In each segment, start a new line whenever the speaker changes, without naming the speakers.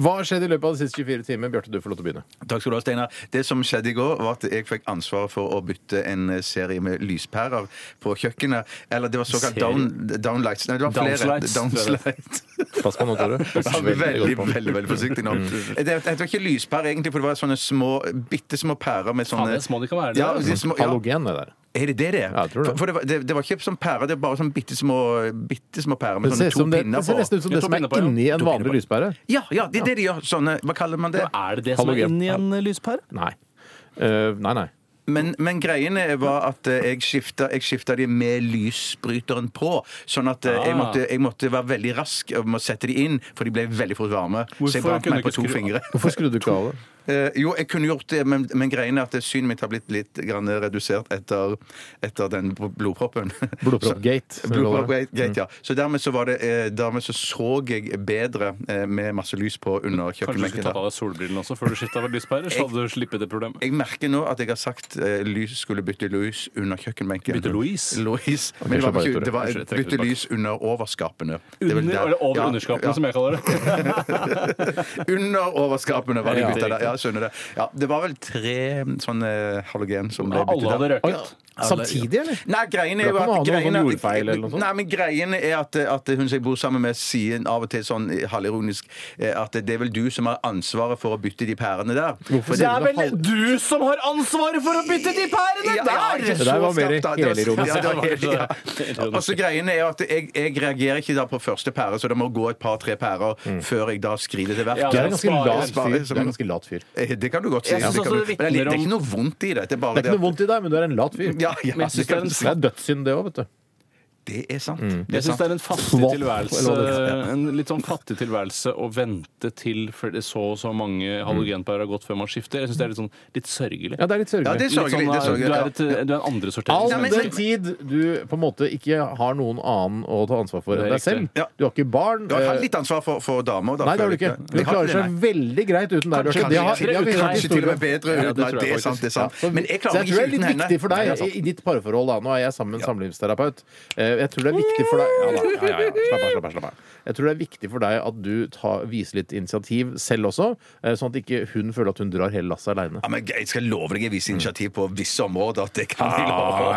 Hva har skjedd i løpet av de siste 24 timer? Bjarte, du får lov til å begynne.
Takk skal du ha, Steinar. Det som skjedde i går, var at jeg fikk ansvaret for å bytte en eh, serie med lyspærer på kjøkkenet. Eller det var såkalt down, downlights. Nei, det var flere.
Downslights.
Downslights.
Pass på nå, Tore.
Ja,
Veldig
veldig,
godt på.
veldig, veldig forsiktig nå.
Mm.
Det, det var ikke lyspærer, egentlig, for det var sånne små, bitte små pærer med sånne
Faen, det er små de kan være, det
Ja,
der.
de små, ja.
Halogen, det der.
Er det det det er?
Ja, jeg tror det.
For, for det, var, det, det var ikke sånn pærer, det var bare sånn bitte små, bitte små pærer med
Det ser, ut
sånne to
som det, det
pinner
ser nesten
på.
ut som
Ja,
det
to
som er
pinner på, ja.
inni en
To pinner
vanlig
på.
lyspære.
Ja, ja, det er det de gjør. Sånne, hva kaller man det?
Er det det som er
Halogen.
inni en lyspære?
Nei. Eh, nei, nei.
Men, men greien er- var at eh, jeg skifta, jeg skifta de med lysbryteren på. Sånn at eh, jeg,
Ah.
måtte, jeg måtte være veldig rask med å sette de inn, for de ble veldig fort varme. så jeg
Hvorfor
brant
kunne
meg
du
på
ikke
to
skru-
fingre.
Hvorfor skrudde du ikke av det?
Eh, jo, jeg kunne gjort det, men, men greien er at synet mitt har blitt litt grann redusert etter, etter den bl- blodproppen.
Blodproppgate,
Så-
som vi kaller det.
Blodproppgate, ja. Så dermed så, var det, eh, dermed så så jeg bedre eh, med masse lys på under
Kanskje du skulle
kjøkkenbenken.
tatt
da.
av deg solbrillene også før du skifta lyspære? Så hadde du slippet det problemet.
Jeg merker nå at jeg har sagt eh, lys skulle bytte lys under kjøkkenbenken.
Bytte Louise?
Louise. men det
slapp av
var
litt,
ikke,
Tore.
det var,
Kanskje jeg trekker
bytte
det bak.
lys under overskapene. Det er vel
Under
der-
eller over
Ja,
underskapene,
ja.
som jeg kaller det.
Under overskapene var det
Ja,
bytta
riktig.
der. Ja, jeg skjønner det. Ja, det var vel tre mm, sånne eh, halogen som ble byttet
Alle hadde
der.
røket.
Samtidig, eller?
Nei, greien
Da
er jo
kan man ha
at,
noe
greien
sånn
er-
jordfeil eller noe sånt.
Nei, men greien er at, eh, at hun som jeg bor sammen med, sier av og til sånn halvironisk eh, at det er vel du som har ansvaret for å bytte de pærene der. For
sier du det?
vel du som har ansvaret for å bytte de pærene
Ja, ja, ikke
Det der
så
var mer
skarpt, da. Det var-
helironisk.
Ja, det var helt- ja.
Helironisk.
Og så Altså, greien er jo at jeg, jeg reagerer ikke da på første pære, så det må gå et par-tre pærer før jeg da skrider til verk.
Ja,
Mm. Det er en ganske
Sparer-
lat fyr.
sparer
Det
som-
er en ganske lat fyr.
Eh, Det kan du godt si.
Jeg synes
Det kan
også
du-
det
men det, er,
vitner
det er
om-
ikke noe vondt i det. Det er bare
Det er
det
ikke noe vondt i deg, men du er en lat fyr.
Ja, ja,
Men jeg synes det er en
Det er dødssynd, det òg, vet du.
Det er
Mm.
sant. Det er
Jeg syns
sant.
det er en fattig
Swamp,
tilværelse
eller hva
En litt sånn fattig tilværelse å vente til før det så og så mange halogenpærer har gått før man skifter. Jeg syns det er litt sånn litt sørgelig.
Ja, det er litt
Mm. Ja, det
sørgelig.
er sørgelig.
Litt
Det er
sånn,
sørgelig.
du
ja.
er et, du er en andre
All
Ja, men-
sorteringsmenneske.
den tid du på en måte ikke har noen annen å ta ansvar for enn
Det er
deg selv.
riktig.
Ja.
Du har ikke barn.
Du har
eh,
litt ansvar for, for damer. Da,
Nei, det har
føler
du ikke.
jeg.
Du
Jeg har
klarer
ikke
seg
det, nei.
veldig greit uten deg. Bjørte. Det har-
Kanskje-
det har vi
kanskje
hørt
Kanskje til og
historier
med
om.
bedre.
Ja,
Nei,
det tror jeg
det er sant. det er sant.
Så
Men
så
jeg klarer
jeg
meg
tror det er
ikke uten
litt
henne.
viktig for deg
Ja, det er sant.
i- i ditt parforhold. da, Nå er jeg sammen med en samlivsterapeut. Eh, Jeg tror det er viktig for deg ja, da, ja, ja, ja. Slapp av, slapp av, slapp av. Jeg tror det er viktig for deg at du tar, viser litt initiativ selv også, eh, sånn at ikke hun føler at hun drar hele lasset aleine.
Ja, men jeg skal love deg jeg viser initiativ på visse områder. at Det kan jeg love.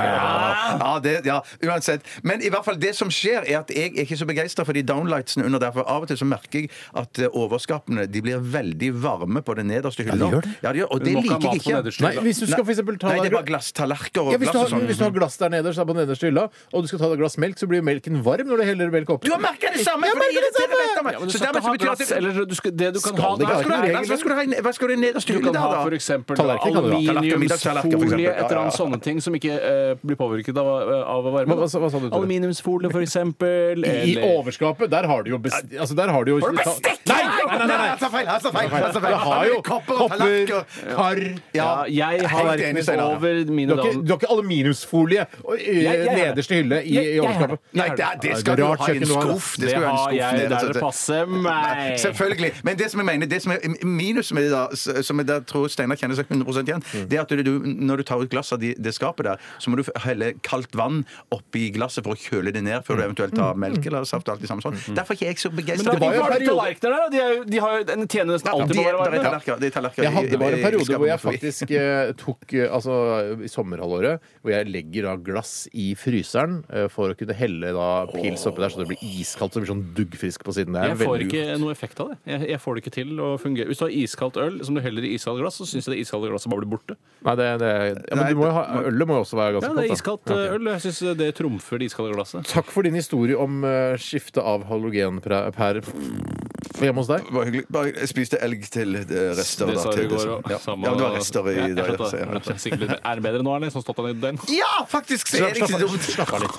Ja, det, ja, uansett. Men i hvert fall det som skjer, er at jeg er ikke så begeistra for de downlightsene under der. For av og til så merker jeg at eh, overskapene de blir veldig varme på den nederste hylla.
gjør det.
Ja, de gjør, og det
Nok av
liker
mat
jeg
på
ikke.
nederste
Nei,
hylle.
hvis du skal for eksempel ta
Nei, det
deg
er bare glasstallerker og
ja, hvis, du har,
glass og sånn.
hvis du har glass der nederst, da, på den nederste hylla, og du skal ta deg et glass melk, så blir jo melken varm når du heller melk oppi.
Du har merka det samme!
Jeg
for
merker det
det irriterer
samme!
vettet av meg.
Ja, men du
Så dermed så betyr det at
skal ikke ha glass, eller du skal, det du kan
Skal
ha
det
da,
ikke
Hva
være
skal du ha- hva skal du ha i- Hva skal du ha i nederste
Du
hylle
kan
der,
ha for
da?
eksempel
Tallerken kan du ha.
Tallerken, middagstallerken, for eksempel. Ja, ja, ja.
aluminiumsfolie, et eller annet sånne ting som ikke eh, blir påvirket av, eh, av varme.
Hva- hva sa- hva sa du, Tore?
Aluminiumsfolie, for eksempel.
I
eller-
overskapet, der har du jo best... Altså, der har du jo
du bestikk?
Nei! Nei, nei, nei!
han sa feil! Han sa feil! han sa feil.
Du har jo
kopper og tallerkener.
kar
ja, jeg har
Helt enig,
verken
Steinar.
over
Du
mine
har ikke,
damer
du har ikke aluminiumsfolie og, i
Jeg- jeg har det.
nederste hylle i,
Jeg-
i
jeg har
overskapet.
det.
Nei, det, er- det
Det
skal
er
du
rart
ha i en
kjøkken du har, da.
skuff.
Det
skal du ha i en
har
skuff
jeg
nede,
der det
så-
passer meg.
Selvfølgelig. Men det som jeg mener, det som er minus med det, da, s- som jeg da tror Steinar kjenner seg 100 igjen, det er at du, når du tar ut glasset av de- det skapet der, så må du helle kaldt vann oppi glasset for å kjøle det ned før du eventuelt tar melk eller saft. og alt det samme sånn. Derfor er ikke jeg så
Men
begeistra.
det
var jo en
var
periode-
tallerkener der, da. De, er, jo- de har jo en tjener nesten alltid på å være varme.
Jeg hadde bare en periode hvor jeg faktisk eh, tok eh, Altså i sommerhalvåret hvor jeg legger da glass i fryseren eh, for å kunne helle da pils oppi der så det blir iskaldt så det blir sånn duggfrisk på siden. Det er
Jeg får
veldig-
ikke noe effekt av det. Jeg, jeg får det ikke til å fungere. Hvis du har iskaldt øl som du heller i iskaldt glass, så syns jeg det iskalde glasset bare blir borte.
Nei, det, det, ja, men
Nei,
du må jo ha, ølet må jo også være ganske
Ja,
kaldt.
det er
da.
iskaldt
Ja,
eh,
ok.
øl. Jeg syns det trumfer det iskalde glasset.
Takk for din historie om eh, skifte av halogenpærer hjemme hos deg.
Det var hyggelig. Bare, jeg spiste elg til eh, rester.
Det
da,
sa du
til-
i går òg.
Ja. ja, det var rester i dag. altså.
det.
ja, så jeg-
Er det bedre nå, eller? Sånn stått han i den?
Ja, faktisk! så er det ikke dumt.
Slapp av litt.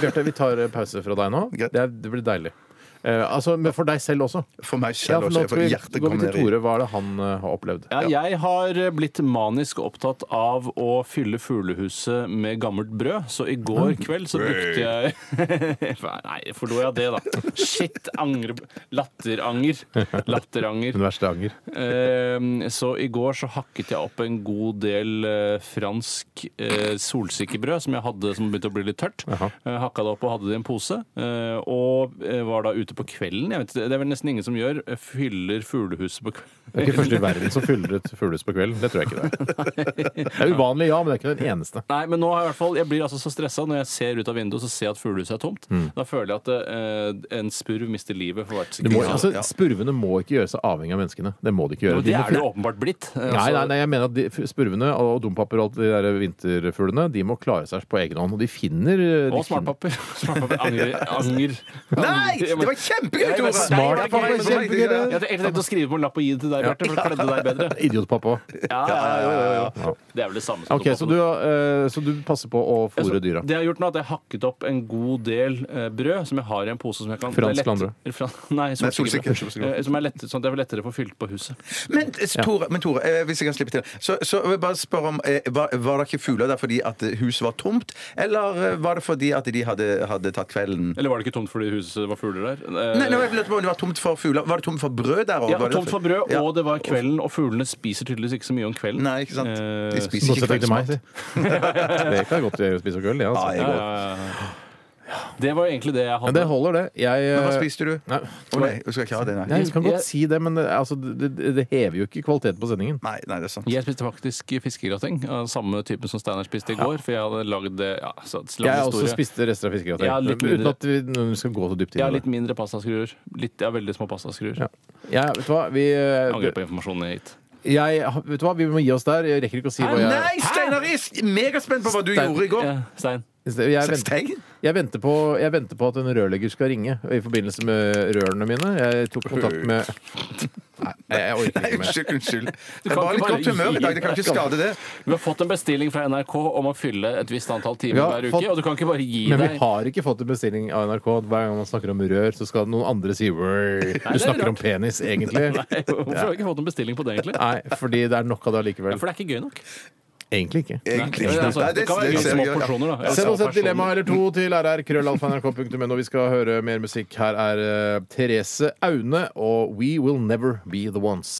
Bjarte, vi tar eh, pause fra deg nå. Det,
Greit.
er, det blir deilig. Eh, altså, men for deg selv også.
For meg
Ja,
selv
for
også.
nå
jeg
skal
får
vi
hjertet
gå
komme
til
ned i-
Tore. Hva er det han eh, har opplevd?
Ja, jeg har blitt manisk opptatt av å fylle fuglehuset med gammelt brød, så i
Mm.
går kveld så brukte jeg Nei, forlot jeg det, da. Shit, angre Latteranger. Latteranger.
Den verste anger.
Eh, Så i går så hakket jeg opp en god del eh, fransk eh, solsikkebrød som jeg hadde som begynte å bli litt tørt.
Jaha.
Eh, Hakka det opp og hadde det i en pose. eh, Og eh, var da ute ute på kvelden? Jeg vet, ikke, det er vel nesten ingen som gjør. eh, Fyller fuglehuset på kvelden?
Det er ikke første i verden som fyller ut fuglehus på kvelden. Det tror jeg ikke det er. Det er uvanlig, ja, men det er ikke den eneste.
Nei, men nå har jeg i hvert fall Jeg blir altså så stressa når jeg ser ut av vinduet og ser jeg at fuglehuset er tomt. Da føler jeg at eh, en spurv mister livet for hvert
Mm. Du må,
sekund.
altså,
ja.
Spurvene må ikke gjøre seg avhengig av menneskene. Det må de ikke
Jo,
gjøre. De
det
må
er det
finne-
jo åpenbart blitt. Eh,
Nei,
altså-
nei, nei, jeg mener at de, spurvene og dompaper og alt de der vinterfuglene, de må klare seg på egen hånd. Og de finner eh, de
Og smartpapir. smartpapir. Angrer. Angrer.
Nei! Det var kjempegøy, Tore!
Smart,
Nei, det var
pappa,
gøy,
kjempegøy,
det var
det.
Jeg hadde egentlig tenkt å skrive på en lapp og gi det til deg, Bjarte, for det kledde deg bedre.
finner- Idiotpappa.
Ja, ja, ja, ja, ja. Det er vel det samme som
Ok, så du, eh, så du passer på å fôre
Altså,
dyra.
Det jeg har gjort nå, er at jeg har hakket opp en god del eh, brød som jeg har i en pose som jeg kan
Fransk
det er lett- Fran- Nei, solsikkebrød.
solsikkebrød.
Eh, Som er lett, sånn at jeg får lettere får fylt på huset.
Men eh, Tore, men, Tore eh, hvis jeg kan slippe til Så, så vil jeg bare spørre om eh, var, var det ikke fugler der fordi at eh, huset var tomt, eller eh, var det fordi at de hadde, hadde tatt kvelden?
Eller var det ikke tomt fordi huset var fugler der? Eh,
Nei, nei, jeg lurte på om det var tomt for fugler. Var det tomt for brød der òg?
ja, tomt for brød, og det var kvelden, og fuglene spiser tydeligvis ikke så mye om kvelden.
Nei, ikke sant?
Eh,
De spiser ikke
Motsetning til meg,
kveldsmat.
si. Det kan jeg godt gjøre, spise og øl, ja,
Ja, jeg
altså.
går.
Det var egentlig det jeg hadde.
Men det holder, det. Jeg
Men hva
eh,
spiste du?
Nei,
Å nei, du skal ikke ha det, nei.
nei, jeg kan godt
Jeg-
si det, men eh, altså, det, det- det hever jo ikke kvaliteten på sendingen.
Nei, nei, det er sant.
Jeg spiste faktisk fiskegrateng av samme type som Steinar spiste i går. For jeg hadde lagd det ja, så, lang
Jeg har også
historie.
spist rester av fiskegrateng.
Ja, litt
Uten
mindre.
at vi, nå, vi skal gå så dypt
Jeg
inn i
har litt mindre pastaskruer. Litt, jeg har veldig små pastaskruer.
Ja. Ja, vet du hva? Vi, eh,
Angrer på informasjonen jeg har gitt.
jeg, vet du hva? vi må gi oss der. Jeg rekker ikke å si hva jeg
Nei, Steinar Is! Megaspent på hva du
Stein-
gjorde i går.
Ja, Stein.
Jeg venter,
Stein?
jeg, venter på, jeg venter på at en rørlegger skal ringe i forbindelse med rørene mine. Jeg tok kontakt med Nei, jeg orker
Nei,
ikke mer.
unnskyld. unnskyld.
kan
Jeg var
ikke
litt
bare
godt humør
gi-
i dag. Det kan ikke skade det.
Vi har fått en bestilling fra NRK om å fylle et visst antall timer
Vi har
hver uke.
fått-
Og du kan ikke bare gi
Men vi
deg
har ikke fått en bestilling av NRK. Hver gang man snakker om rør, så skal noen andre si «Rør».
er
Du snakker om
rart.
penis, egentlig.
Nei, Hvorfor har vi ikke fått en bestilling på det, egentlig?
Nei, fordi det er nok av det
Ja,
allikevel.
for det er ikke gøy nok.
Egentlig ikke.
Egentlig.
Nei, altså,
Nei,
det kan være
det ser
små
jeg gjør, ja.
porsjoner, da. Eller
Send oss et
personer.
dilemma eller to til rrkrøllalfa.nrk.no. Vi skal høre mer musikk. Her er eh, Therese Aune og We Will Never Be The Ones.